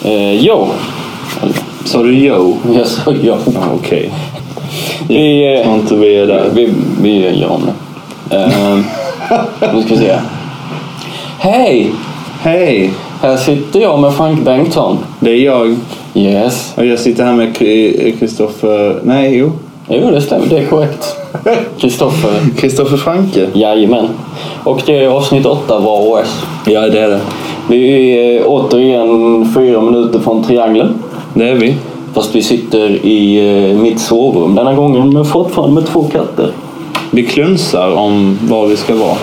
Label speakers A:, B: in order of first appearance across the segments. A: Eh, yo.
B: Sa du yo?
A: Jag sa yo.
B: Ja, Okej.
A: Vi,
B: Har
A: eh,
B: inte vi där?
A: vi, vi gör om det. Eh, nu ska vi se. Hej!
B: Hej!
A: Här sitter jag med Frank Bengtsson.
B: Det är jag.
A: Yes.
B: Och jag sitter här med Kri- Kristoffer... Nej, jo.
A: Jo, det stämmer. Det är korrekt. Kristoffer.
B: Kristoffer Franke.
A: Jajamän. Och det är avsnitt åtta av AOS.
B: Ja, det är det.
A: Vi är återigen fyra minuter från triangeln.
B: Det är vi.
A: Fast vi sitter i eh, mitt sovrum denna gången, men fortfarande med två katter.
B: Vi klunsar om var vi ska vara.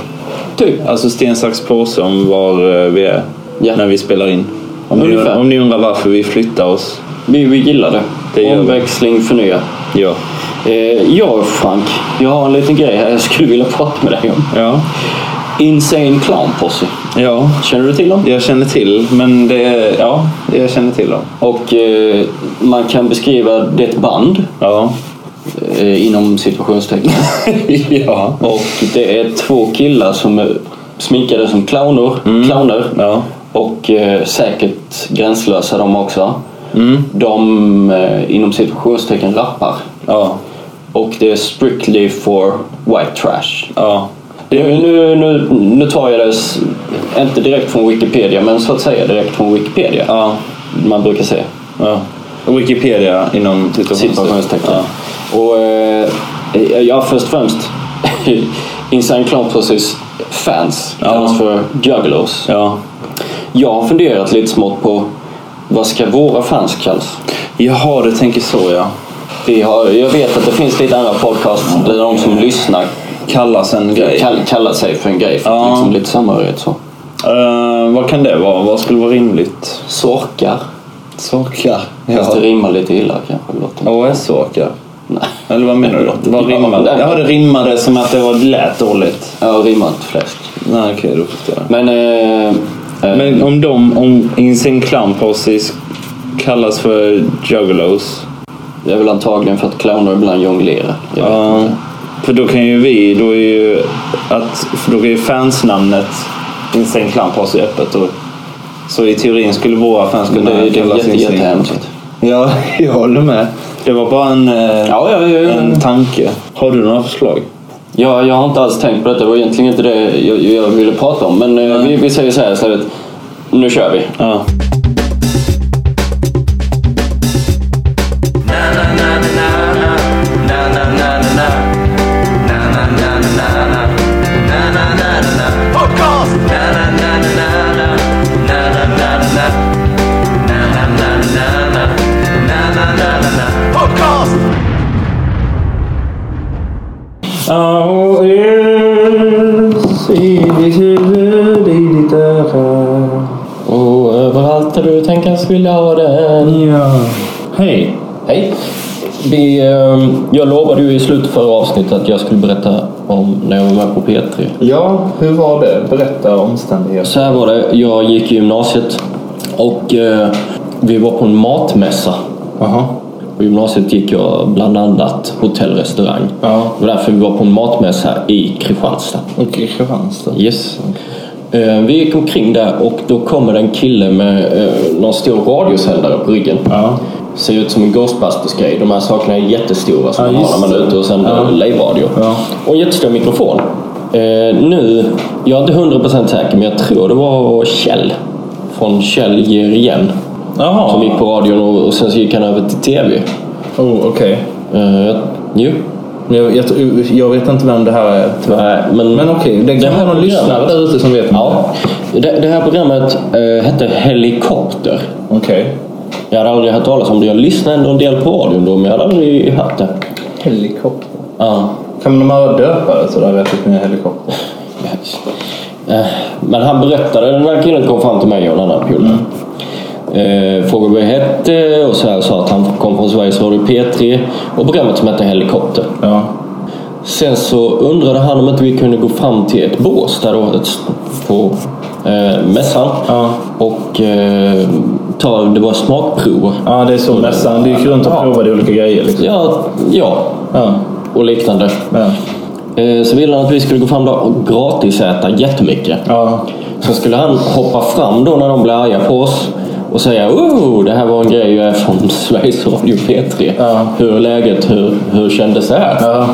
A: Typ.
B: Alltså sten, sax, påse om var eh, vi är
A: Ja.
B: när vi spelar in. Om ni,
A: Ungefär.
B: om ni undrar varför vi flyttar oss.
A: Vi, vi gillar det.
B: Det gör vi.
A: Omväxling, förnya.
B: Ja.
A: Eh, jag Frank, jag har en liten grej här jag skulle vilja prata med dig om.
B: Ja.
A: Insane Clown Posse.
B: Ja.
A: Känner du till dem?
B: Jag känner till, men det är... Ja, jag känner till dem.
A: Och eh, man kan beskriva det är ett band
B: Ja.
A: eh, inom situationstecken.
B: ja.
A: Och det är två killar som är sminkade som clowner,
B: Mm.
A: clowner
B: Ja.
A: och eh, säkert gränslösa de också.
B: Mm.
A: De eh, inom situationstecken rappar.
B: Ja.
A: Och det är strictly for white trash.
B: Ja.
A: Nu, nu, nu, nu tar jag det, s- inte direkt från Wikipedia, men så att säga direkt från Wikipedia.
B: Ja.
A: Man brukar säga.
B: ja. Wikipedia inom
A: Situationstecken.
B: Ja.
A: Och eh, ja, först och främst. Insane Clown Posse fans
B: Ja.
A: kallas för juggalos.
B: ja.
A: Jag har funderat lite smått på vad ska våra fans kallas?
B: Jaha, du tänker så ja.
A: Vi har, jag vet att det finns lite andra podcasts där de som lyssnar
B: Kallas en grej.
A: kall, kallar sig för en grej för
B: Ja.
A: att liksom lite samhörighet så.
B: Eh, vad kan det vara? Vad skulle vara rimligt?
A: Sorkar.
B: Sorkar.
A: Fast det
B: Ja.
A: rimmar lite illa kanske. det Låter.
B: OS-sorkar.
A: Nej.
B: Eller vad menar du? Vad rimmade? Ja, det rimmade som att det var lät dåligt.
A: Ja, rimmar inte fläsk.
B: Nej, okej, då förstår jag.
A: Men... Eh, eh,
B: Men om de, om Insane Clown Posse kallas för juggalos.
A: Det är väl antagligen för att clowner ibland jonglerar. Jag vet
B: Ja,
A: inte.
B: för då kan ju vi, då är ju, att, för då är ju fansnamnet Insane Clown Posse öppet. Och, så i teorin skulle våra fans
A: Men
B: kunna
A: det, är- det är
B: kallas
A: jätte,
B: Insane Clown
A: jättehemskt.
B: Posse. Ja, jag håller med. Det var bara en, eh,
A: Ja, ja, ja, ja.
B: en tanke. Har du några förslag?
A: Mm. Ja, jag har inte alls tänkt på detta. Det var egentligen inte det jag, jag ville prata om. Men eh, vi, vi säger så här istället. Nu kör vi.
B: Ja. Oh, yes, i ditt huvud, i ditt öra.
A: Och överallt där du tänkas vilja ha den.
B: Ja. Hej.
A: Hej! Vi, ehm, jag lovade ju i slutet förra avsnittet att jag skulle berätta om när jag var med på P3.
B: Ja, hur var det? Berätta omständigheter.
A: Så här var det, jag gick i gymnasiet och eh, vi var på en matmässa.
B: Jaha.
A: På gymnasiet gick jag bland annat hotellrestaurang.
B: Ja.
A: Det var därför vi var på en matmässa i Kristianstad.
B: Och i Kristianstad.
A: Yes. Eh, Vi gick omkring där och då kommer det en kille med eh, någon stor radiosändare på ryggen.
B: Ja.
A: Ser ut som en Ghostbusters-grej. De här sakerna är jättestora som
B: Ja,
A: man har
B: just
A: när man är
B: det.
A: ute och sänder
B: Ja.
A: live-radio.
B: Ja.
A: Och en jättestor mikrofon. Eh, nu, jag är inte 100% säker, men jag tror det var Kjell från Kjell ger igen.
B: Jaha.
A: Som gick på radion och, och sen så gick han över till TV.
B: Oh, okej.
A: Eh, jag- jo,
B: Men jag, jag, jag vet inte vem det här är.
A: nej, men...
B: Men okej, det kan
A: här
B: vara någon
A: programmet-
B: lyssnare där ute som vet.
A: Ja, det, det här programmet eh, hette Helikopter.
B: Okej.
A: Jag hade aldrig hört talas om det. Jag lyssnade ändå en del på radion då, men jag hade aldrig hört det.
B: Helikopter.
A: Ja.
B: Kan man bara döpa det sådär rätt upp med helikopter?
A: Eh, Men han berättade, den här killen kom fram till mig och den andra polaren. Eh, frågade vad jag hette och så här, sa att han kom från Sveriges Radio P3 och programmet som hette Helikopter.
B: Ja.
A: Sen så undrade han om inte vi kunde gå fram till ett bås där då, ett, på eh, mässan
B: Ja.
A: och eh, ta, det var smakprover.
B: Ja, det är så mässan. Du gick runt och
A: Ja.
B: provade olika grejer liksom.
A: Ja, ja
B: Ja.
A: och liknande.
B: Ja.
A: Eh, så ville han att vi skulle gå fram där och gratisäta jättemycket.
B: Ja.
A: Sen skulle han hoppa fram då när de blev arga på oss och säga oh, det här var en grej jag är från Sveriges Radio P3.
B: Ja.
A: Hur är läget? Hur, hur kändes det här?
B: Ja.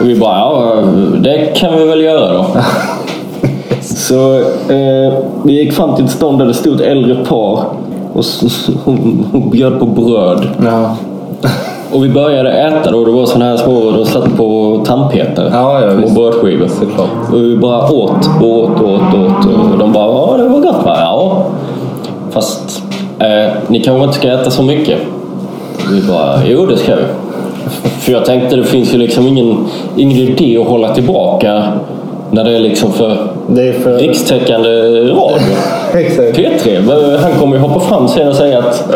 A: Och vi bara, ja det kan vi väl göra då. Så eh, vi gick fram till ett stånd där det stod ett äldre par och, s- och bjöd på bröd.
B: Ja.
A: Och vi började äta då. Det var såna här små, de satt på tandpetare.
B: Ja, ja,
A: små
B: visst.
A: brödskivor.
B: Såklart.
A: Och vi bara åt, åt, åt, åt. Och de bara, ja det var gott va? Ja. Fast eh, ni kanske inte ska äta så mycket. Vi bara, jo det ska vi. För jag tänkte det finns ju liksom ingen, ingen idé att hålla tillbaka när det är liksom för
B: Det är för...
A: rikstäckande radio.
B: Exakt.
A: P3, men han kommer ju hoppa fram sen och säga att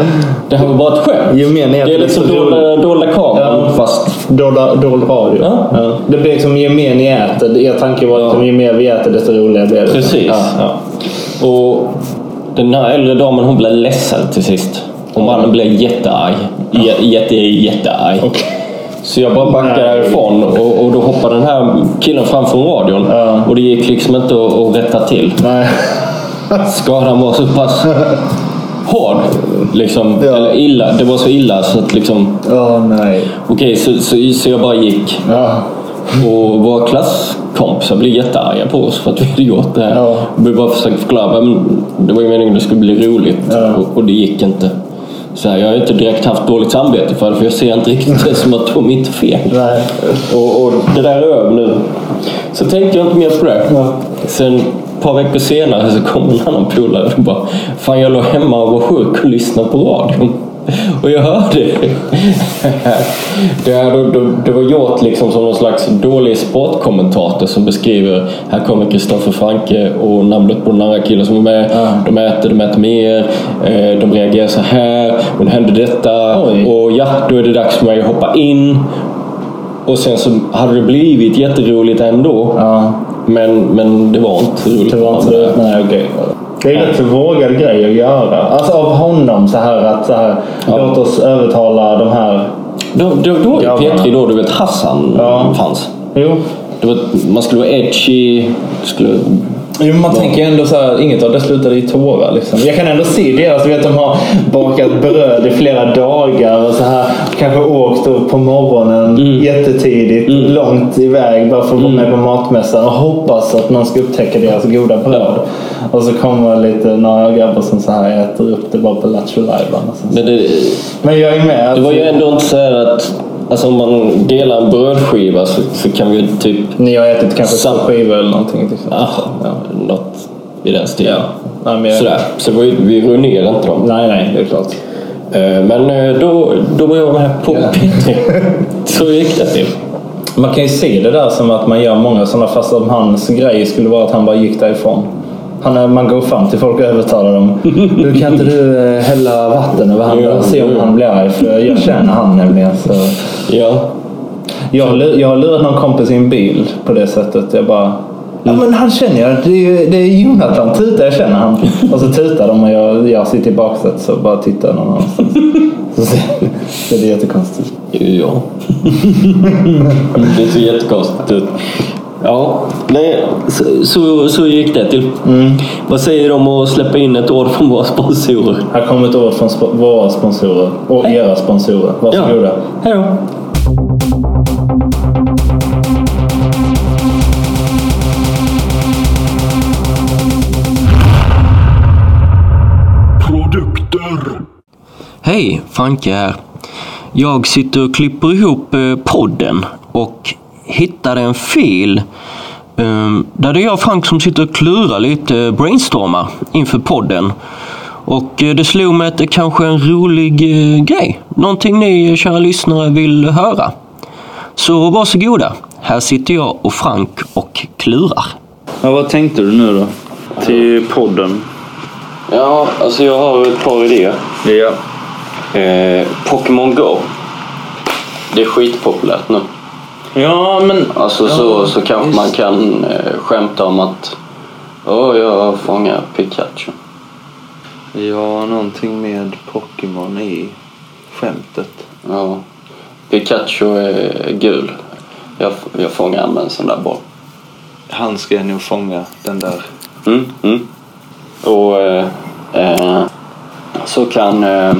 A: det här var bara ett skämt.
B: Gemene
A: Det är liksom dolda, dolda kameran
B: Ja.
A: fast...
B: Dolda, dold radio.
A: Ja.
B: Det blir liksom ju mer ni äter. Er tanke var att ju mer vi äter desto roligare blir det.
A: Precis.
B: Ja, ja.
A: Och den här äldre damen hon blev ledsen till sist. Och mannen blev jättearg. J- jätte, jättearg. Så jag bara backade
B: Nej.
A: därifrån och, och då hoppade den här killen fram från radion.
B: Ja.
A: Och det gick liksom inte att, att rätta till.
B: Nej.
A: Skadan var så pass hård. Liksom,
B: Ja.
A: eller illa. Det var så illa så att liksom...
B: Åh nej.
A: Okej, så, så, så jag bara gick.
B: Ja.
A: Och våra klasskompisar blev jättearga på oss för att vi hade gjort det här.
B: Ja.
A: Vi bara försökte förklara men det var ju meningen att det skulle bli roligt
B: Ja.
A: och, och det gick inte. Så här, jag har ju inte direkt haft dåligt samvete för det för jag ser inte riktigt det som att de inte är fel.
B: Nej.
A: Och, och det där är över nu. Så tänkte jag inte mer på det.
B: Ja.
A: Sen ett par veckor senare så kom en annan polare och bara Fan jag låg hemma och var sjuk och lyssnade på radion. Och jag hörde det, här, då, då, det var gjort liksom som någon slags dålig sportkommentator som beskriver Här kommer Kristoffer Franke och namnet på den andra killen som är med.
B: Ja.
A: De äter, de äter mer. eh, De reagerar så här. Och det hände detta.
B: Oj.
A: Och ja, då är det dags för mig att hoppa in. Och sen så hade det blivit jätteroligt ändå.
B: Ja.
A: Men, men det var inte roligt.
B: Det var inte det. Nej, okej. Det är en rätt så vågad grej att göra. Alltså av honom så här att så här,
A: Ja.
B: låt oss övertala de här.
A: Då, då, då var ju
B: Ja,
A: P3 då, du vet Hassan
B: Ja.
A: fanns.
B: Jo.
A: Det var, man skulle vara edgy. Skulle,
B: Jo, men man tänker ju ändå så här, inget av det slutade i tårar. Liksom. Jag kan ändå se deras, du vet de har bakat bröd i flera dagar och så här, kanske åkt upp på morgonen
A: Mm.
B: jättetidigt, långt iväg bara för att vara med på matmässan och hoppas att någon ska upptäcka deras goda bröd. Och så kommer lite några grabbar som så här äter upp det bara på Lattjo Lajban. och så-
A: men det,
B: Men jag är med. alltså,
A: det var ju ändå inte så här att alltså om man delar en brödskiva så, så kan vi ju typ...
B: Ni har ätit kanske
A: Sam-
B: två skivor eller någonting. Liksom.
A: Ah,
B: Ja.
A: Något i den stilen.
B: Ja. Nej, men jag...
A: Sådär. Så det var ju, vi ruinerade inte dem.
B: Nej, nej, det är klart.
A: Eh, Men eh, då, då var jag med på P3. Så gick det till.
B: Man kan ju se det där som att man gör många sådana fast om hans grej skulle vara att han bara gick därifrån. Han, man går fram till folk och övertalar dem. Du kan inte du eh, hälla vatten över han och se om han blir arg? För jag känner han nämligen. Så.
A: Ja.
B: Jag, har lu- jag har lurat någon kompis i en bil på det sättet. Jag bara Ja men han känner jag, det är, ju- det är Jonathan, tuta jag känner han. Och så tutar de och jag, jag sitter i baksätet så bara tittar jag någon annanstans. Så, ser- så det är jättekonstigt.
A: Ja. det ser jättekonstigt ut. Ja, nej, så, så, så gick det till. Vad säger de om att släppa in ett år från våra sponsorer?
B: Här kommer ett ord från sp- våra sponsorer och era sponsorer. Varsågoda.
A: hej då.
C: Produkter.
A: Hej, Franke här. Jag sitter och klipper ihop eh, podden och hittade en fil ehm, där det är jag och Frank som sitter och klurar lite, eh, brainstormar inför podden. Och eh, det slog mig att det kanske är en rolig eh, grej. Någonting ni, eh, kära lyssnare, vill höra. Så varsågoda. Här sitter jag och Frank och klurar.
D: Ja, vad tänkte du nu då? Till podden?
A: Ja, alltså jag har ett par idéer. Eh,
D: Ja.
A: Pokémon Go. Det är skitpopulärt nu.
D: Ja, men...
A: Alltså så, så kanske man kan eh, skämta om att Åh, jag fångar Pikachu.
D: Ja, någonting med Pokémon i skämtet.
A: Ja. Pikachu är gul. Jag, jag fångar med en sån där boll.
D: Han ska nog fånga den där.
A: Mm, mm. Och eh, eh, så kan, eh,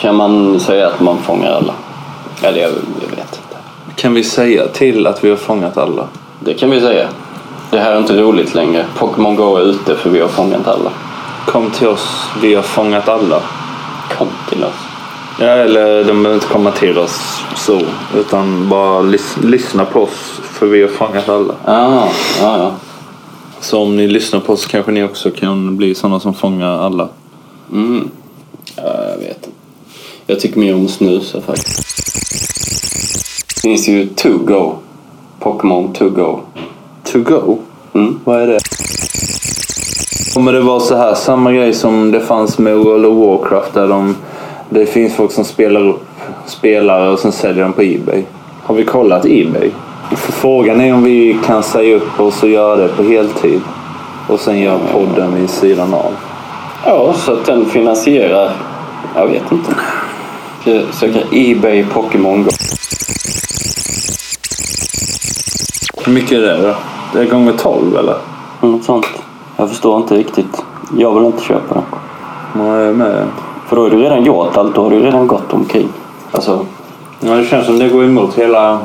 A: kan man säga att man fångar alla. Eller jag, jag vet inte.
B: Kan vi säga till att vi har fångat alla?
A: Det kan vi säga. Det här är inte roligt längre. Pokémon Go är ute för vi har fångat alla.
B: Kom till oss, vi har fångat alla.
A: Kom till oss.
B: Ja, eller de behöver inte komma till oss så, utan bara lys- lyssna på oss för vi har fångat alla.
A: Ah, ja, ja.
B: Så om ni lyssnar på oss kanske ni också kan bli sådana som fångar alla.
A: Mm. ja, jag vet inte. Jag tycker mer om snusar faktiskt. Det finns ju To Go. Pokémon To Go.
B: To go?
A: Mm.
B: Vad är det? Kommer det vara så här, samma grej som det fanns med World of Warcraft där de, det finns folk som spelar upp spelare och sen säljer dem på Ebay. Har vi kollat Ebay? För frågan är om vi kan säga upp oss och göra det på heltid. Och sen göra podden vid sidan av.
A: Ja, så att den finansierar... Jag vet inte. Ska söka Ebay Pokémon Go.
B: Hur mycket är det då? Det är gånger 12 eller?
A: Något sånt. Jag förstår inte riktigt. Jag vill inte köpa den.
B: Nej, jag är med.
A: För då är du redan gjort allt. Då har du redan gått omkring. Alltså,
B: Ja, det känns som det går emot hela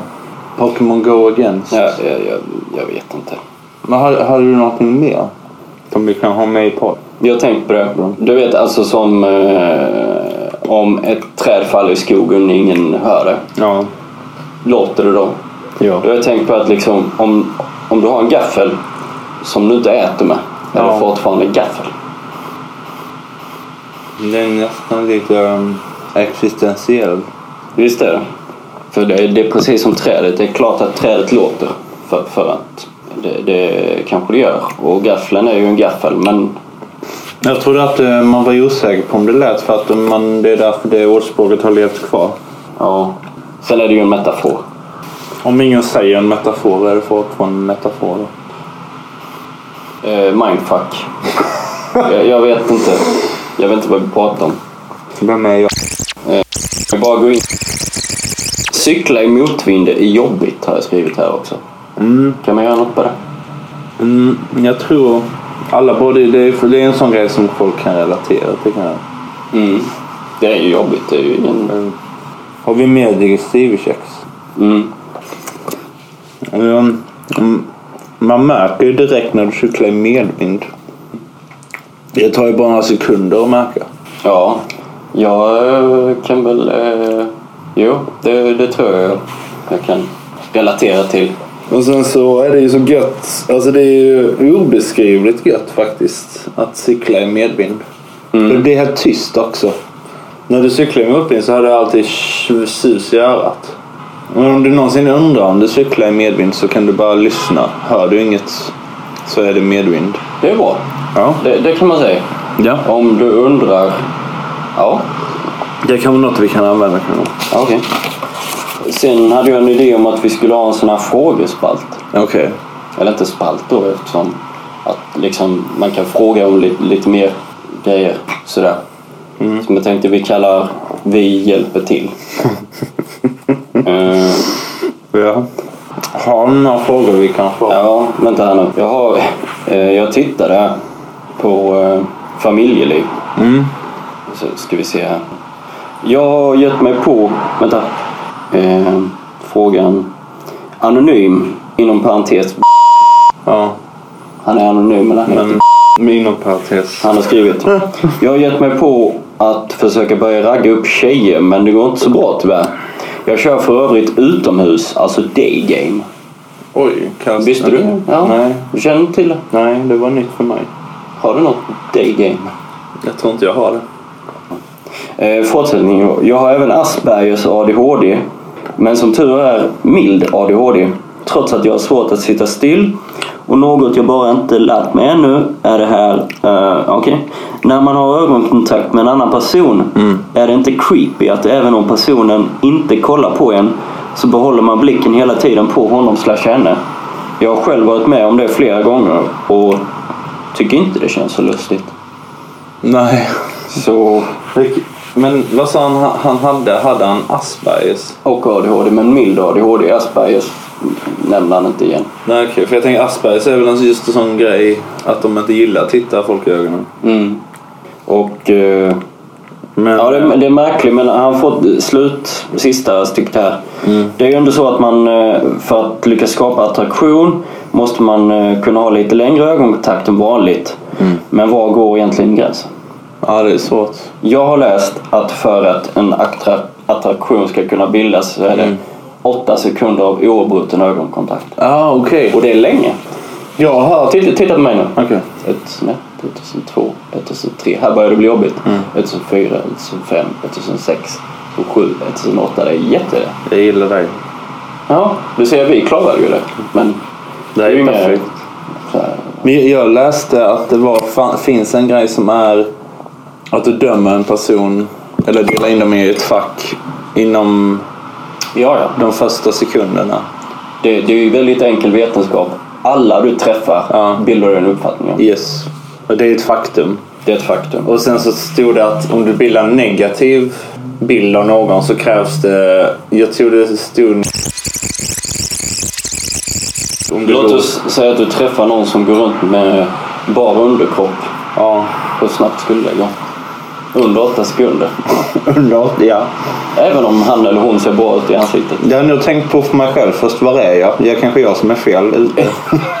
B: Pokémon Go Against.
A: jag, jag, jag, jag vet inte.
B: Men hade, hade du någonting mer? Som vi kan ha med i podden?
A: Jag har tänkt på det. Du vet alltså som eh, om ett träd faller i skogen och ingen hör det.
B: Ja.
A: Låter det då?
B: Ja.
A: Då har jag tänkt på att liksom, om, om du har en gaffel som du inte äter med. Är
B: Ja.
A: det fortfarande en gaffel?
B: Det är nästan lite um, existentiell.
A: Visst är det. För det är, det är precis som trädet. Det är klart att trädet låter. För, för att det, det kanske det gör. Och gaffeln är ju en gaffel. Men
B: Jag trodde att eh, man var osäker på om det lät för att man, det är därför det ordspråket har levt kvar.
A: ja. Sen är det ju en metafor.
B: Om ingen säger en metafor är det fortfarande en metafor då.
A: Eh, mindfuck. jag, jag vet inte. Jag vet inte vad vi pratar om.
B: Vem är jag?
A: Jag bara går in. Cykla i motvind är jobbigt har jag skrivit här också.
B: Mm,
A: Kan man göra något på det?
B: mm, jag tror alla borde... Det är, för det är en sån grej som folk kan relatera till. Kan jag.
A: Mm. Det är ju jobbigt. Det är ju ingen...
B: Men, har vi mer digestivkex?
A: Mm.
B: Mm, mm, Man märker ju direkt när du cyklar i medvind. Det tar ju bara några sekunder att märka.
A: Ja, jag eh, kan väl... Eh, jo, det, det tror jag jag kan relatera till.
B: Och sen så är det ju så gött. Alltså det är ju obeskrivligt gött faktiskt. Att cykla i medvind. För det blir helt tyst också. När du cyklar i medvind så har du alltid tj- sus i örat. Men om du någonsin undrar om du cyklar i medvind så kan du bara lyssna. Hör du inget så är det medvind.
A: Det är bra.
B: Ja.
A: Det, det kan man säga.
B: ja.
A: Om du undrar... Ja,
B: Det kan vara något vi kan använda kanske.
A: okej. Sen hade jag en idé om att vi skulle ha en sån här frågespalt.
B: Okej.
A: Eller inte spalt då eftersom att liksom, man kan fråga om lite, lite mer grejer. Sådär. Som jag tänkte vi kallar Vi hjälper till. Eh,
B: Ja. Har ni några frågor vi kan få?
A: Ja, vänta här nu. Jag, har, eh, jag tittade här på eh, familjeliv.
B: Mm.
A: Så ska vi se här. Jag har gett mig på... Vänta. Eh, frågan. Anonym, inom parentes.
B: Ja.
A: Han är anonym, men han heter
B: Men med inom parentes.
A: Han har skrivit. Jag har gett mig på att försöka börja ragga upp tjejer men det går inte så bra tyvärr. Jag kör för övrigt utomhus, alltså daygame.
B: Oj. Kast.
A: Visste du? Ja.
B: Nej.
A: Du känner inte till det?
B: Nej, det var nytt för mig.
A: Har du något daygame?
B: Jag tror inte jag har det.
A: Eh, fortsättning då. Jag har även Aspergers och ADHD. Men som tur är mild ADHD. Trots att jag har svårt att sitta still. Och något jag bara inte lärt mig ännu är det här... Eh, Okej. När man har ögonkontakt med en annan person är det inte creepy att även om personen inte kollar på en så behåller man blicken hela tiden på honom slash henne. Jag har själv varit med om det flera gånger och tycker inte det känns så lustigt.
B: Nej.
A: Så...
B: Men vad sa han han hade? Hade han Aspergers?
A: Och ADHD, men mild ADHD. Aspergers nämnde han inte igen.
B: Nej okej, för jag tänker Aspergers är väl en just en sån grej att de inte gillar att titta folk i ögonen.
A: Och eh,
B: Men,
A: Ja, det är, det är märkligt men han får slut, sista stycket här. Det är ju ändå så att man eh, för att lyckas skapa attraktion måste man eh, kunna ha lite längre ögonkontakt än vanligt. Men var går egentligen gränsen?
B: ja, det är svårt.
A: Jag har läst att för att en attra- attraktion ska kunna bildas så är det åtta sekunder av oavbruten ögonkontakt.
B: ah, okej.
A: Och det är länge.
B: Jag har hört...
A: Titta, titta på mig nu.
B: Okej.
A: 2001, 2002, 2003. Här börjar det bli jobbigt.
B: Mm.
A: 2004, 2005, 2006, 2007, 2008. Det är jätte...
B: Jag gillar dig.
A: Ja, du ser, vi klarade ju det. Men
B: Det är
A: ju inga-
B: perfekt.
A: så här-
B: Men jag läste att det var, fan, finns en grej som är att du dömer en person eller delar in dem i ett fack inom
A: Ja, ja.
B: de första sekunderna.
A: Det, det är ju väldigt enkel vetenskap. Alla du träffar
B: Ja.
A: bildar du en uppfattning om.
B: Yes. Och det är ett faktum.
A: Det är ett faktum.
B: Och sen så stod det att om du bildar en negativ bild av någon så krävs det... Jag tror det stod... Om du
A: Låt
B: då-
A: oss säga att du träffar någon som går runt med bar underkropp.
B: Ja.
A: Hur snabbt skulle det gå? Under åtta sekunder.
B: Undrar. Ja.
A: Även om han eller hon ser bra ut i ansiktet.
B: Jag har nog tänkt på för mig själv först, var är jag? Jag kanske är jag som är fel ute.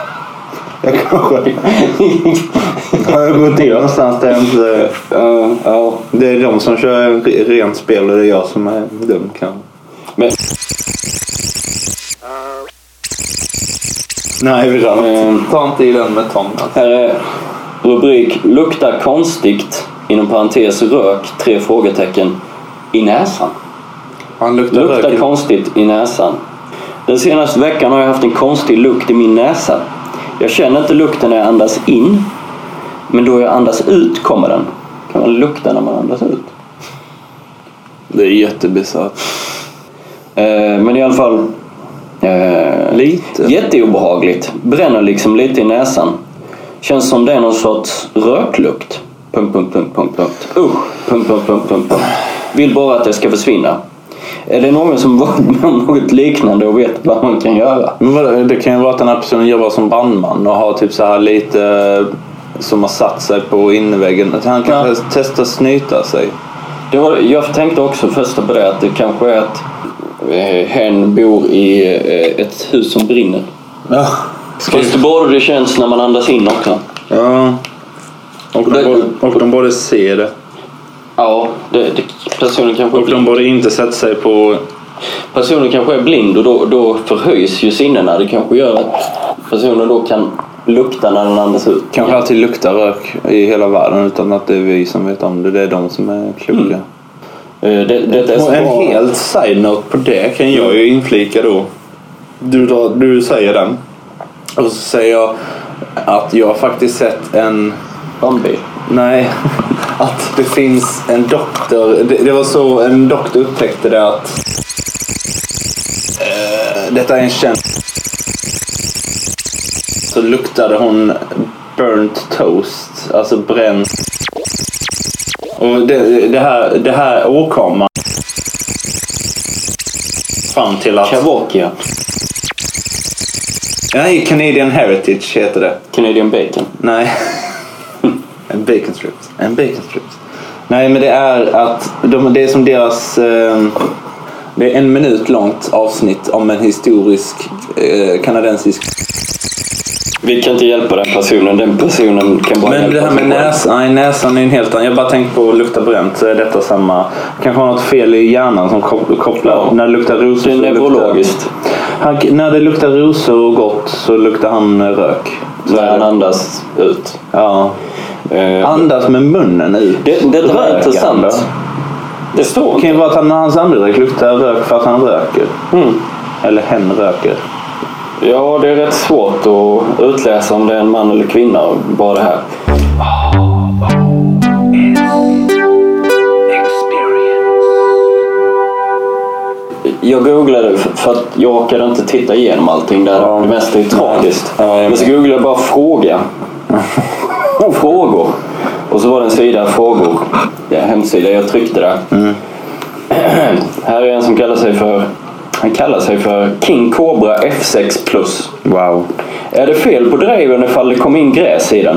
B: jag kanske... har jag gått in någonstans där jag inte...
A: Eh, ja.
B: Det är de som kör re- rent spel och det är jag som är dum kanske.
A: Men,
B: Nej, vi kör
A: Mm.
B: Eh, Ta inte i den med tång.
A: Här är rubrik Luktar konstigt inom parentes rök tre frågetecken i näsan.
B: Han luktar
A: Luktar
B: rök.
A: konstigt i näsan. Den senaste veckan har jag haft en konstig lukt i min näsa. Jag känner inte lukten när jag andas in. Men då jag andas ut kommer den. Kan man lukta när man andas ut?
B: Det är jättebisarrt.
A: Eh, men i alla fall. Eh,
B: Lite.
A: Jätteobehagligt. Bränner liksom lite i näsan. Känns som det är någon sorts röklukt. Punkt, punkt, punkt, punkt, punkt. Usch! Punkt, punkt, punkt, punkt, punkt. Vill bara att det ska försvinna. Är det någon som varit med om något liknande och vet vad man kan göra?
B: Men vadå, det kan ju vara att den här personen jobbar som brandman och har typ så här lite eh, som har satt sig på innerväggen. Att han kan
A: Ja.
B: testa snyta sig.
A: Det var, jag tänkte också först på det att det kanske är att eh, hen bor i eh, ett hus som brinner.
B: Ja.
A: Fast det borde det känns när man andas in också.
B: ja. Och, de
A: Det-
B: borde, och de borde se det.
A: Ja, det, det, personen kanske
B: Och de borde inte sätta sig på...
A: personen kanske är blind och då, då förhöjs ju sinnena. Det kanske gör att personen då kan lukta när den andas ut.
B: Kanske alltid lukta rök i hela världen utan att det är vi som vet om det. Det är de som är kloka.
A: Eh, Det, detta är så
B: Och en
A: bra.
B: helt side-note på det kan jag ju inflika då. Du, drar- du säger den. Och så säger jag att jag har faktiskt sett en...
A: Bambi.
B: Nej, att det finns en doktor. Det, det var så en doktor upptäckte det att... Eh, detta är en känd... Så luktade hon burnt toast, alltså bränd... Och det, det, här, det här åkomman fram till att...
A: Kavakia.
B: Nej, Canadian Heritage heter det.
A: Canadian bacon.
B: Nej. en bacon strips. En bacon strips. Nej, men det är att de, det är som deras... Eh, det är en minut långt avsnitt om en historisk eh, kanadensisk...
A: Vi kan inte hjälpa den personen. Den personen kan bara
B: Men
A: hjälpa
B: det här med
A: sig själv.
B: näsan, nej, näsan är en helt annan. Jag bara tänkt på att lukta bränt så är detta samma. Kanske har något fel i hjärnan som kop- kopplar
A: Ja.
B: när det luktar rosor.
A: Det är
B: så luktar-
A: neurologiskt.
B: Han, när det luktar rosor och gott så luktar han eh, rök.
A: När han andas ut.
B: Ja.
A: Eh,
B: Andas med munnen ut.
A: Det, detta var
B: Rökande.
A: intressant. Det står
B: Det
A: inte.
B: kan ju vara att han, hans andedräkt luktar rök för att han röker. Eller hen röker.
A: Ja, det är rätt svårt att utläsa om det är en man eller kvinna bara det här. Jag googlade f- för att jag orkade inte titta igenom allting där.
B: Ja.
A: Det mesta är tragiskt.
B: Ja, jag med.
A: Men så googlade jag bara fråga. frågor. Och så var det en sida frågor. Ja, hemsida. Jag tryckte där.
B: Mm.
A: här är en som kallar sig för han kallar sig för King Cobra F6 Plus.
B: Wow.
A: Är det fel på driven ifall det kom in gräs i den?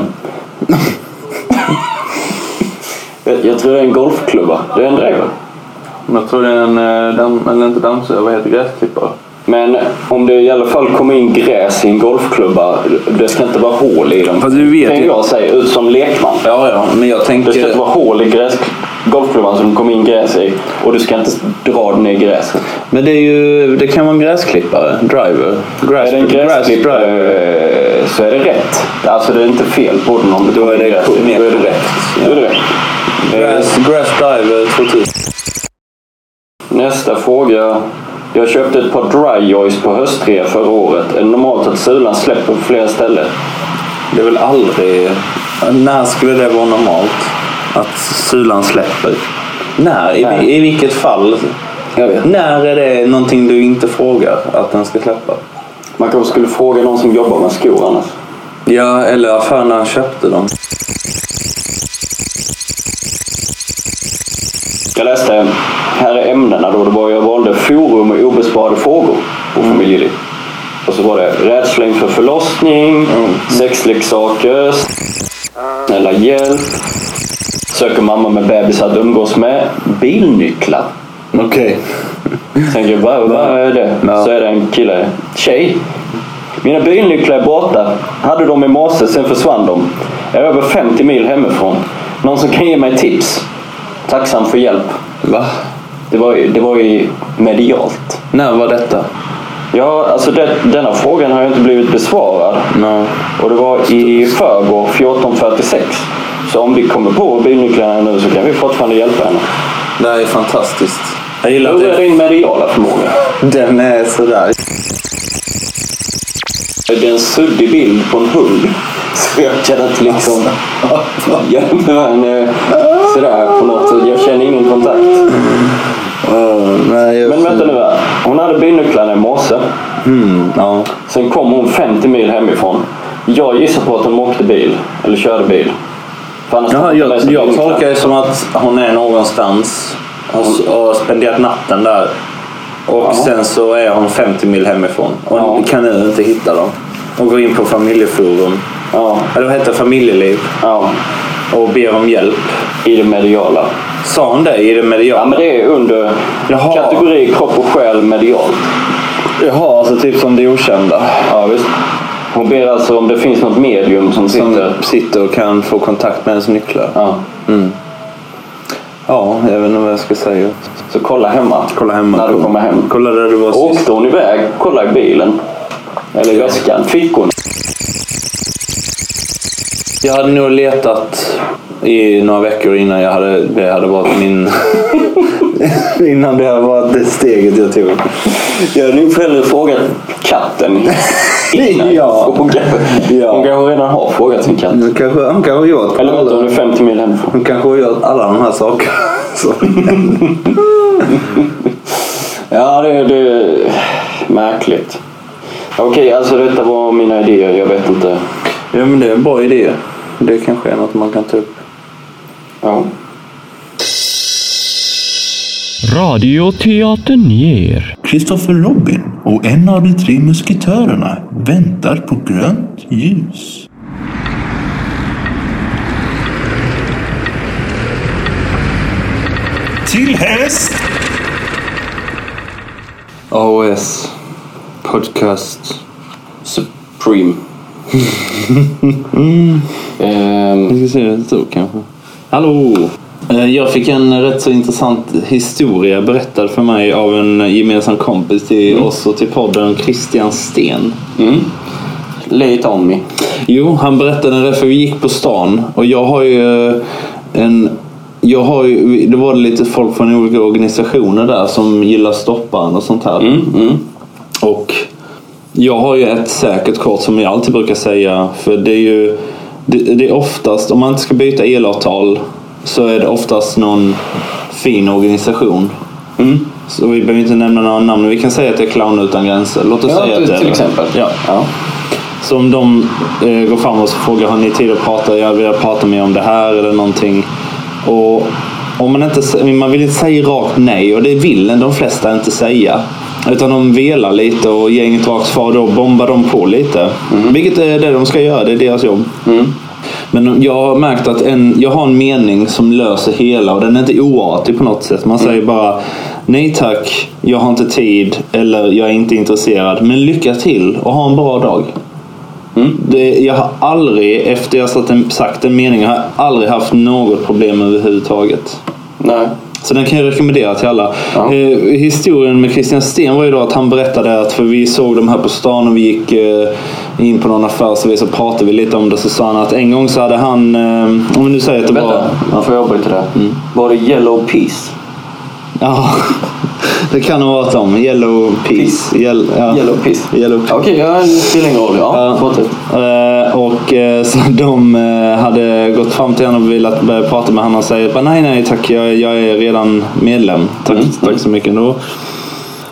A: Jag, jag tror det är en golfklubba. Det är en drever.
B: Jag tror det är en, eh, damm, eller inte dammsugare, vad heter det? Gräsklippare?
A: Men om det i alla fall kommer in gräs i en golfklubba, det ska inte vara hål i dem.
B: Fast du vet
A: kan
B: ju-
A: jag säga, ut som lekman.
B: Ja, ja, men jag
A: Det ska inte
B: tänker...
A: vara hål i gräs, golfklubban som det kommer in gräs i och du ska inte dra den i gräset.
B: Men det, är ju, det kan vara en gräsklippare. Driver. Grass,
A: Är det en
B: grass
A: gräsklippare
B: driver.
A: eh, så är det rätt. Alltså det är inte fel på den om det
B: Då är
A: kommer in
B: det
A: gräs.
B: korrekt.
A: Då är det rätt. Då är det rätt.
B: Grass, grass driver 2000.
A: Eh, Nästa fråga. Jag köpte ett par dry joys på höstrea förra året. Är det normalt att sulan släpper på flera ställen?
B: Det är väl aldrig... När skulle det vara normalt? Att sulan släpper? När? I,
A: Nej.
B: I vilket fall?
A: Jag vet.
B: När är det någonting du inte frågar att den ska släppa?
A: Man kanske skulle fråga någon som jobbar med skor annars.
B: Ja, eller affären när han köpte dem.
A: Jag läste, här är ämnena då. Det var, jag valde forum och obesvarade frågor på familjeliv. Och så var det rädsla inför förlossning, sexleksaker, snälla hjälp, söker mamma med bebis att umgås med, bilnycklar.
B: Okej.
A: Tänker jag, vad, vad är det?
B: Ja.
A: Så är det en kille, tjej. Mina bilnycklar är borta. Hade dem i morse, sen försvann de. Jag är över 50 mil hemifrån. Någon som kan ge mig tips? Tacksam för hjälp.
B: Va?
A: Det var, ju- det var ju medialt.
B: När var detta?
A: Ja, alltså det, denna frågan har ju inte blivit besvarad.
B: No.
A: Och det var i förrgår 14.46. Så om vi kommer på bilnycklarna nu så kan vi fortfarande hjälpa henne.
B: Det här är fantastiskt. Jag gillar
A: Hur är
B: det.
A: din mediala förmåga?
B: Den är sådär.
A: Det är en suddig bild på en hund. Så jag kan inte liksom jämföra henne sådär på något sätt. Jag känner ingen kontakt.
B: Oh, nej, jag...
A: Men vänta nu här. Hon hade bilnycklarna i morse.
B: Mm, ja.
A: Sen kom hon 50 mil hemifrån. Jag gissar på att hon åkte bil. Eller körde bil. För annars
B: Jaha,
A: hade hon inte
B: jag,
A: med sig
B: jag
A: bilnycklar.
B: tolkar Alltså, det som att hon är någonstans och, och har spenderat natten där. Och
A: Ja.
B: sen så är hon 50 mil hemifrån och
A: Ja.
B: kan nu inte hitta dem. Och går in på familjeforum,
A: Ja,
B: eller vad heter det, familjeliv
A: ja.
B: och ber om hjälp.
A: I det mediala.
B: Sa hon det i det
A: Ja,
B: mediala?
A: men det är under
B: Jaha.
A: kategori kropp och själ medialt.
B: Jaha, alltså typ som det okända.
A: Ja, visst. Hon ber alltså om det finns något medium som
B: Som
A: sitter...
B: sitter och kan få kontakt med ens nycklar.
A: Ja.
B: Ja, jag vet inte vad jag ska säga.
A: Så kolla hemma.
B: Kolla hemma.
A: När du kommer hem.
B: Kolla där du var sist.
A: Åkte hon iväg, kolla i bilen. Eller i väskan, fickorna.
B: Jag hade nog letat i några veckor innan jag hade, det hade varit min... innan det hade varit det steget jag tog.
A: Jag hade nog hellre frågat katten. innan jag
B: Ja.
A: frågade.
B: Ja.
A: Hon kanske redan har frågat sin katt.
B: Hon kanske, hon kanske har gjort
A: Eller vänta, hon
B: alla,
A: är 50 mil hemifrån.
B: hon kanske har gjort alla de här sakerna. Så.
A: Ja, det, det är märkligt. Okej, alltså detta var mina idéer. Jag vet inte.
B: Ja men det är en bra idé. Det kanske är något man kan ta upp.
A: Ja.
E: Radioteatern ger.
C: Kristoffer Robin och en av de tre musketörerna väntar på grönt ljus. Till häst!
B: AOS Podcast.
A: Supreme. Ehm,
B: Vi ska se hur det stod kanske. Mm. Hallå! Eh, Jag fick en rätt så intressant historia berättad för mig av en gemensam kompis till oss och till podden, Christian Sten.
A: lay it on me.
B: Jo, han berättade det för vi gick på stan och jag har ju eh, en... Jag har ju, det var lite folk från olika organisationer där som gillar stopparen och sånt här.
A: Mm,
B: Och jag har ju ett säkert kort som jag alltid brukar säga. För det är ju det, det är oftast, om man inte ska byta elavtal så är det oftast någon fin organisation.
A: Mm.
B: Så vi behöver inte nämna några namn. men Vi kan säga att det är Clown utan gränser. Låt oss
A: Ja,
B: säga att det är
A: till
B: det.
A: exempel.
B: Ja.
A: Ja.
B: Så om de eh, går fram och så frågar har ni tid att prata? Jag vill prata med er om det här eller någonting. Och om man, inte, sä- man vill inte säga rakt nej och det vill de flesta inte säga. Utan de velar lite och ger inget rakt svar. Då bombar de på lite. Vilket är det de ska göra. Det är deras jobb. Men jag har märkt att en, jag har en mening som löser hela och den är inte oartig på något sätt. Man säger bara nej tack, jag har inte tid eller jag är inte intresserad. Men lycka till och ha en bra dag. Det, jag har aldrig, efter jag satt en, sagt en mening, jag har aldrig haft något problem överhuvudtaget.
C: Nej.
B: Så den kan jag rekommendera till alla.
C: Ja.
B: Eh, historien med Christian Sten var ju då att han berättade att för vi såg dem här på stan och vi gick eh, in på någon affär så, vi, så pratade vi lite om det. Så sa han att en gång så hade han, eh, om vi nu säger att det var...
C: Vänta, får jag avbryta där?
A: Mm.
C: Var det Yellow Peace?
B: Ja, det kan ha varit om. Yellow Peace. Yellow, ja.
C: Yellow Peace?
B: Yellow Peace.
C: Okej, ja, det spelar ingen roll. Ja,
B: Ja.
C: fortsätt.
B: Eh, Och eh, så de eh, hade gått fram till honom och velat börja prata med honom och säger bara, nej nej tack jag, jag är redan medlem. Tack, tack så mycket ändå.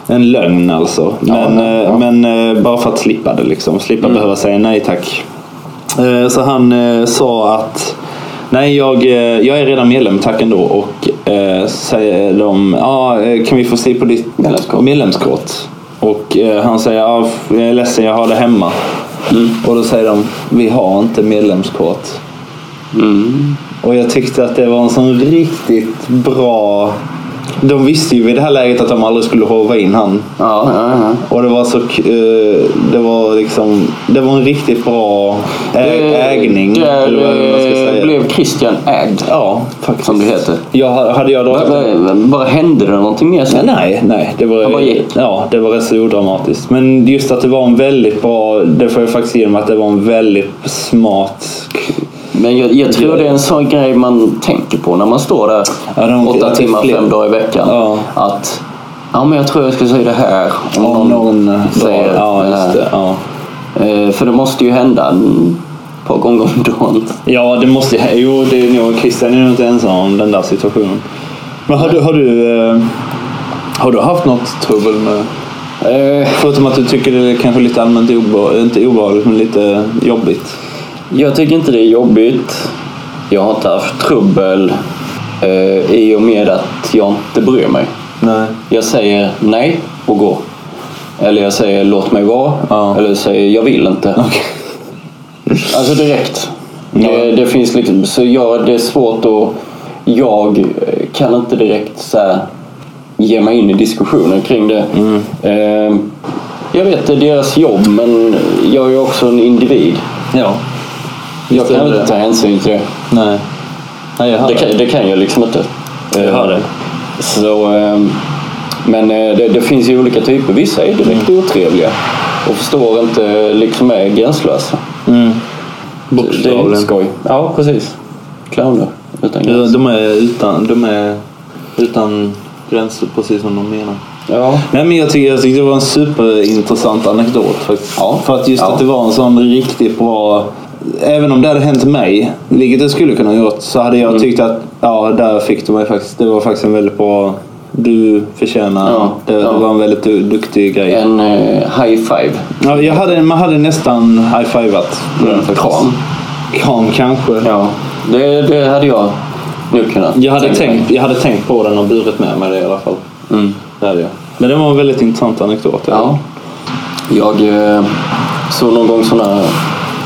B: En lögn alltså. Men, eh, men eh, bara för att slippa det liksom. Slippa behöva säga nej tack. Eh, Så han eh, sa att Nej, jag, eh, jag är redan medlem, tack ändå. Och eh, säger de, ja, eh, kan vi få se på ditt
C: Medlemskort.
B: medlemskort? Och eh, han säger, ja, f- jag är ledsen, jag har det hemma.
C: Mm.
B: Och då säger de, vi har inte medlemskort.
C: Mm.
B: Och jag tyckte att det var en sån riktigt bra... De visste ju vid det här läget att de aldrig skulle håva in han.
C: Ja, ja, ja.
B: Och det var så... k- eh, Det var liksom... Det var en riktigt bra ä- ägning.
C: Där
B: eller vad man ska
C: eh,
B: säga.
C: blev Christian ägd.
B: Ja, faktiskt.
C: Som det heter.
B: Jag, hade jag
C: Vad-
B: dragit
C: vad- vad- Vad hände det någonting mer sen?
B: Nej, nej. Det var,
C: Han bara gick.
B: ja, det var rätt så odramatiskt. Men just att det var en väldigt bra... Det får jag faktiskt ge dem att det var en väldigt smart...
C: Men jag, jag tror det är en sån grej man tänker på när man står där
B: Ja, de-
C: åtta
B: att det är
C: timmar,
B: fler.
C: fem dagar i veckan.
B: Ja.
C: Att ja, men jag tror jag ska säga det här om
B: Om någon drar-
C: säger
B: Ja,
C: det här.
B: just det. Ja.
C: Eh, För det måste ju hända en par gånger om dagen.
B: Ja, det måste jag. Jo, det är nog, Christian är nog inte ensam om den där situationen. Men har du, har du, eh, har du haft något trubbel med... Förutom att du tycker det är kanske lite allmänt obe, inte obehagligt, men lite jobbigt.
C: Jag tycker inte det är jobbigt. Jag har inte haft trubbel eh, i och med att jag inte bryr mig.
B: Nej.
C: Jag säger nej och går. Eller jag säger låt mig vara.
B: Ja.
C: Eller jag säger jag vill inte. Alltså direkt. Det, det finns liksom, så ja, det är svårt att... Jag eh, kan inte direkt så här, ge mig in i diskussioner kring det. Eh, jag vet det är deras jobb men jag är ju också en individ.
B: Ja.
C: Jag
B: är
C: kan
B: det.
C: inte ta hänsyn till det.
B: Nej. Nej, jag hör
C: Det kan, det kan jag liksom inte.
B: Jag hör
C: Eh,
B: det.
C: Så, ehm, men eh, det, det finns ju olika typer. Vissa är direkt
B: Mm.
C: otrevliga och förstår inte, liksom är gränslösa.
B: Mm.
C: Det är inte skoj. Ja, precis. Clowner utan
B: Ja,
C: gräns.
B: De är utan, de är utan gränser, precis som de menar.
C: Ja.
B: Nej, men jag tycker, jag tycker det var en superintressant anekdot faktiskt. För att just
C: Ja.
B: att det var en sån riktigt bra... Även om det hade hänt mig, vilket det skulle kunna ha gjort, så hade jag
C: Mm.
B: tyckt att ja, där fick du mig faktiskt. Det var faktiskt en väldigt bra... Du förtjänar...
C: Ja,
B: Det,
C: ja.
B: det var en väldigt du, duktig grej.
C: En eh, high five.
B: Ja, jag hade, man hade nästan high-fivat. Mm.
C: Kram.
B: Kram kanske.
C: Ja, det, det hade jag nu kunnat.
B: Jag hade,
C: tänka mig.
B: tänkt, jag hade tänkt på den och burit med mig det i alla fall.
C: Mm.
B: Det hade jag. Men det var en väldigt intressant anekdot.
C: Ja. Jag eh, såg någon gång sådana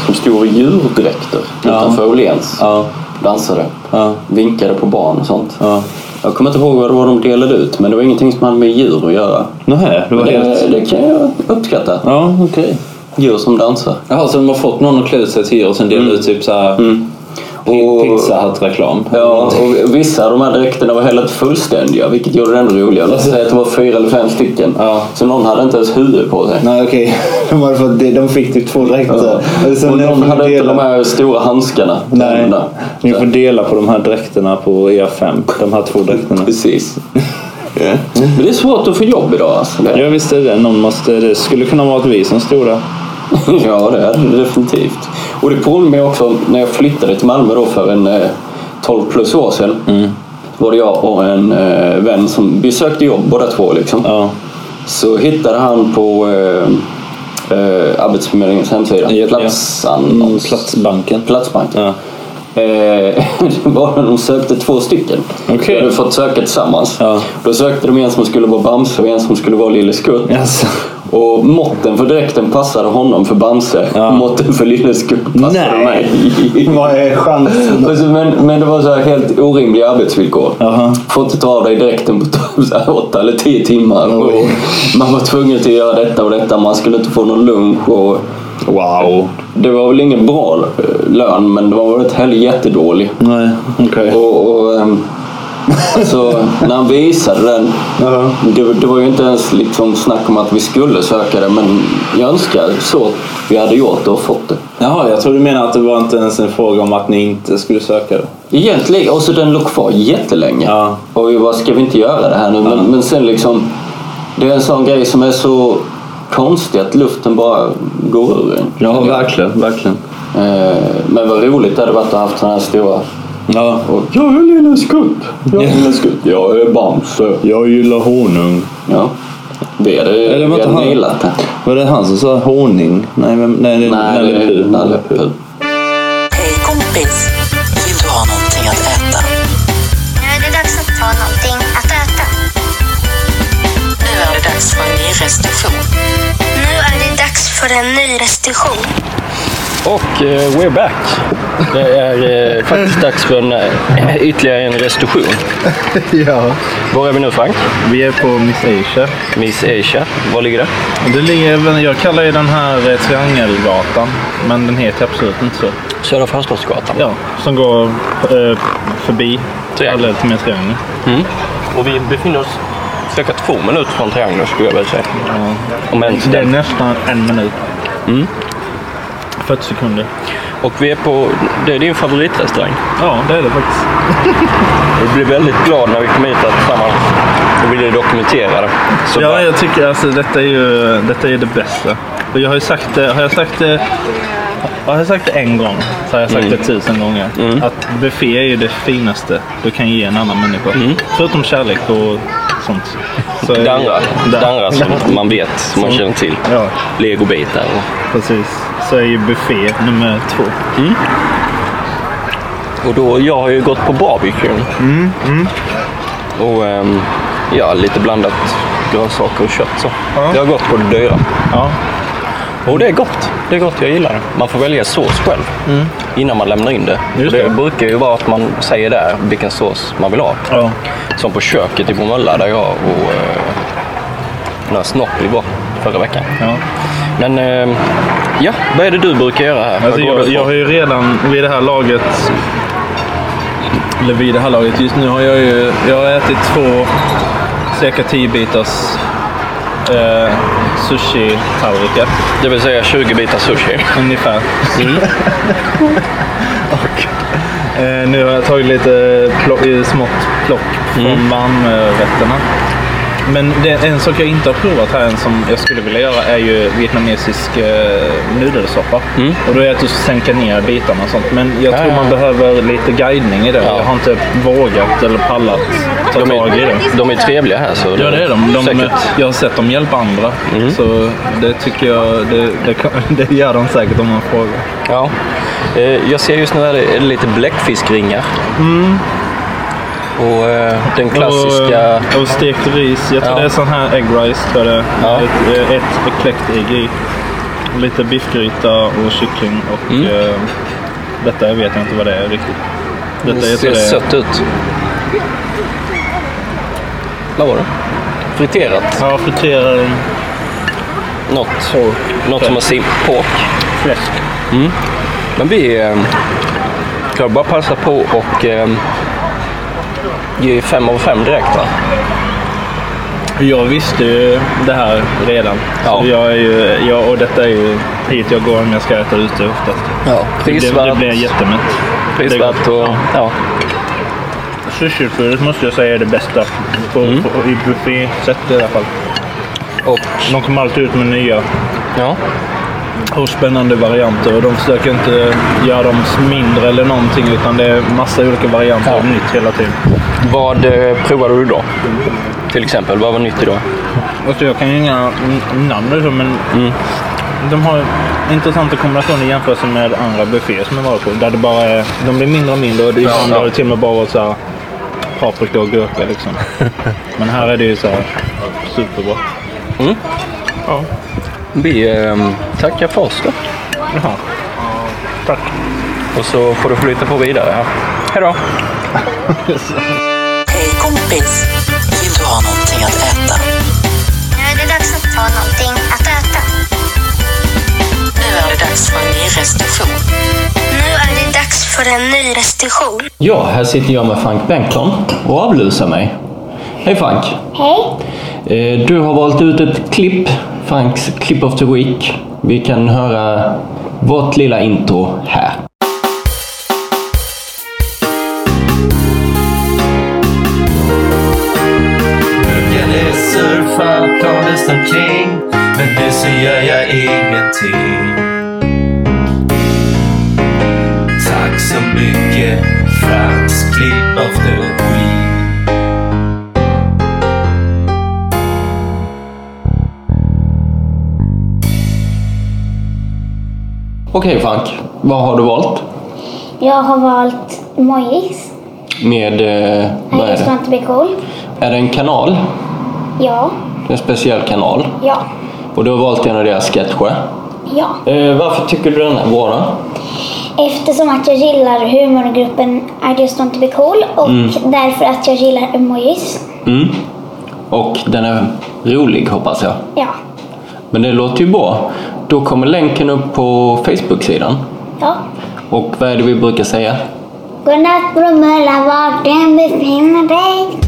C: som stod i djurdräkter
B: Ja.
C: utanför Åhléns.
B: Ja.
C: Dansade.
B: Ja.
C: Vinkade på barn och sånt.
B: ja.
C: Jag kommer inte ihåg vad det var de delade ut, men det var ingenting som hade med djur att göra.
B: Nähä, det var
C: Det,
B: helt...
C: det kan jag uppskatta.
B: Ja, okej.
C: Djur som dansar.
B: Jaha, så de har fått någon att klä ut sig till djur och sen delar ut typ såhär mm.
C: Och-
B: pizzahatt-reklam?
C: Ja, och vissa av de här dräkterna var heller inte fullständiga, vilket gjorde det ännu roligare. Låt säga att det var fyra eller fem stycken.
B: Ja.
C: Så någon hade inte ens huvud på sig.
B: Nej, okej. De, hade fått, de fick typ två dräkter. Och sen
C: Och någon
B: får ni
C: hade inte
B: dela-
C: de här stora handskarna.
B: Nej,
C: Där.
B: ni får dela på de här dräkterna på E5. De här två dräkterna.
C: Precis. Men det är svårt att få jobb idag alltså. Det.
B: Ja, visst är det. Någon måste, det skulle kunna vara att vi som stod där.
C: Ja, det hade det definitivt. Och det påminner mig också om när jag flyttade till Malmö då för en eh, 12 plus år sedan.
B: Mm.
C: Var det jag och en eh, vän som vi sökte jobb båda två. Liksom.
B: Ja.
C: Så hittade han på eh, eh, Arbetsförmedlingens hemsida.
B: Ja, ja.
C: Platsannons.
B: Platsbanken.
C: Platsbanken.
B: Ja.
C: Eh, det var när de sökte två stycken.
B: Okej.
C: De hade fått söka tillsammans.
B: Ja.
C: Då sökte de en som skulle vara Bamse och en som skulle vara Lille Skutt.
B: Jaså.
C: Och måtten för dräkten passade honom för Bamse. Måtten för Lilleskutt passade
B: Nej.
C: mig.
B: Vad är chansen?
C: Och så- Men, men det var så här helt orimliga arbetsvillkor.
B: Jaha.
C: Får inte ta av dig dräkten på så här åtta eller tio timmar. Och man var tvungen till att göra detta och detta. Man skulle inte få någon lunch. Och
F: Wow.
C: det var väl ingen bra eh, lön, men det var väl inte heller jättedålig.
F: Nej, okej.
C: Och, och ehm, alltså, när han visade den, det, det var ju inte ens liksom snack om att vi skulle söka det, men jag önskar så att vi hade gjort det och fått det.
F: Jaha, jag tror du menar att det var inte ens en fråga om att ni inte skulle söka det.
C: Egentligen, och så den låg kvar jättelänge.
F: Ja.
C: Och vi bara, ska vi inte göra det här nu? Men, men sen liksom, det är en sån grej som är så konstig att luften bara går ur en.
F: Ja, verkligen. verkligen.
C: Eh, Men vad roligt det hade varit att ha haft såna här stora...
F: Ja.
C: Och, jag är Lille Skutt! Jag är Lille Skutt! Jag är Bamse!
F: Jag gillar honung.
C: Ja. Vi hade,
F: Eller
C: Eller,
F: var
C: vi
F: inte
C: hade
F: han-
C: nailat det.
F: Var det han som sa honung? Nej, vem, nej, det är
C: Nej, det är Nalle
F: Puh.
C: Puh.
G: Hej kompis! Vill du ha någonting att äta?
H: Nu är det dags att ta någonting att äta.
G: Nu är det dags för en ny restriktion.
H: Nu är det dags för en ny restriktion.
A: Och eh, we're back. Det är eh, faktiskt dags för en, eh, ytterligare en restitution.
B: Ja,
A: Var är vi nu Frank?
B: vi är på Miss Asia.
A: Miss Asia. Var ligger det?
B: Det ligger även, jag kallar ju den här eh, Triangelgatan, men den heter absolut inte så.
A: Södra Förstadsgatan.
B: Ja, som går eh, förbi
A: Triangel.
B: parallellt med Triangeln.
A: Och vi befinner oss cirka två minuter från triangeln skulle jag vilja säga. Om ens
B: Det är
A: den.
B: nästan en minut.
A: Mm.
B: 40 sekunder.
A: Och vi är på... Det är din favoritrestaurang.
B: Ja, det är det faktiskt.
A: Vi blev väldigt glada när vi kom hit att tillsammans och ville dokumentera det. Så
B: Ja,
A: bara-
B: jag tycker alltså detta är ju, detta är det bästa. Och jag har ju sagt det, har jag sagt det, har jag sagt det en gång så har jag
A: Mm.
B: sagt det tusen gånger. Att buffé är ju det finaste du kan ge en annan människa. Förutom kärlek och sånt. Så är
A: Mm. det andra,
B: det-
A: det andra som man vet, som man känner till.
B: Ja,
A: Legobitar och...
B: precis. Så är ju buffé nummer två.
A: Mm. Och då, jag har ju gått på barbecue. Och ehm, ja, lite blandat grönsaker och kött så. Jag har gått på det dyra.
B: Ja,
A: Och det är gott. Det är gott, jag gillar det. Man får välja sås själv innan man lämnar in det.
B: Just
A: Och det
B: det.
A: brukar ju vara att man säger där vilken sås man vill ha.
B: ja.
A: Som på köket i Bromölla där jag och eh, några snoppli var förra veckan.
B: ja.
A: Men eh, ja, vad är det du brukar göra här?
B: Alltså
A: Vad går
B: jag,
A: du
B: jag
A: på?
B: har ju redan vid det här laget, eller vid det här laget, just nu har jag ju, jag har ätit två cirka 10 bitars eh, sushi-tallrikar
A: Det vill säga 20 bitar sushi. Mm.
B: ungefär. Och eh, nu har jag tagit lite eh, plock, smått plock från
A: Mm.
B: Malmörätterna. Men det, en sak jag inte har provat här än som jag skulle vilja göra är ju vietnamesisk eh, nudelsoppa.
A: Mm.
B: Och då är det att du ska sänka ner bitarna och sånt. Men jag tror man behöver lite guidning i det. Jag har inte vågat eller pallat ta
A: De
B: tag i det.
A: är, de är trevliga här så
B: Ja, det är de. de
A: säkert. Mm.
B: jag har sett dem hjälpa andra. Så det tycker jag, det, det, kan- det gör de säkert om man frågar.
A: Ja. Eh, Jag ser just nu här är det lite bläckfiskringar. Och eh, den klassiska...
B: Mm. Och, eh, och stekt ris. Jag tror
A: Ja.
B: det är sån här egg rice. Tror jag det.
A: Ja.
B: är. Ett, ett kläckt ägg i. Lite biffgryta och kyckling. Och
A: Mm.
B: eh, detta vet jag inte vad det är riktigt.
A: Det
B: Detta jag
A: ser
B: tror det är
A: sött ut. Vad var det? Friterat.
B: Ja, friterad
A: Något,
B: pork.
A: något som har sim... Pork.
B: Fläsk.
A: Men vi... eh, Kan bara passa på och eh, ge fem av fem direkt va?
B: Jag visste ju det här redan.
A: Ja.
B: Så jag är ju, jag, och detta är ju hit jag går om jag ska äta ute oftast.
A: Ja.
B: Det, blir- det
A: Prisvärt.
B: blir jättemätt.
A: Prisvärt och... Ja.
B: Sushiutbudet måste jag säga är det bästa. På,
A: Mm.
B: på, I buffé-sätt i alla fall.
A: Och...
B: De kommer alltid ut med nya
A: Ja.
B: och spännande varianter. Och de försöker inte göra dem mindre eller någonting utan det är massa olika varianter
A: Ja.
B: av nytt hela tiden.
A: Vad eh, provade du då? Till exempel, vad var nytt idag?
B: Alltså jag kan ju inga n- namn och så, men
I: Mm.
B: de har intressanta kombinationer i jämförelse med andra bufféer som jag varit på. Där det bara är, de blir mindre och mindre och det- ibland
A: ja.
B: har det till och med bara varit så här paprika och gurka liksom. men här är det ju så här superbra. Ja.
I: Mm. Vi ehm, tackar för oss då. Tack. Och så får du flytta på vidare här. Hej då!
G: Hej kompis! Vill du ha någonting att äta?
J: Nu är det dags att ta någonting att äta.
G: Nu är det dags för en ny restriktion.
J: Nu är det dags för en ny restriktion.
A: Ja, här sitter jag med Frank Bengtsson och avlusar mig. Hej Frank!
J: Hej.
A: Eh, Du har valt ut ett klipp, Franks Clip of the Week. Vi kan höra vårt lilla intro här.
K: Brukar det surfa planet omkring Men nu så gör jag ingenting Tack så mycket Frans Clip of the Week
A: Okej Frank, vad har du valt?
J: Jag har valt emojis.
A: Med... eh, Vad är
J: Jag ska
A: det?
J: inte bli cool.
A: Är det en kanal?
J: Ja.
A: En speciell kanal?
J: Ja.
A: Och du har valt en av deras sketcher?
J: Ja.
A: Eh, varför tycker du den är bra då?
J: Eftersom att jag gillar humorgruppen I just want to be cool och därför att jag gillar emojis.
A: Mm. Och den är rolig hoppas jag.
J: Ja.
A: Men det låter ju bra. Då kommer länken upp på Facebook-sidan.
J: Ja.
A: Och vad är det vi brukar säga?
J: Godnatt Bromölla, var du än befinner dig.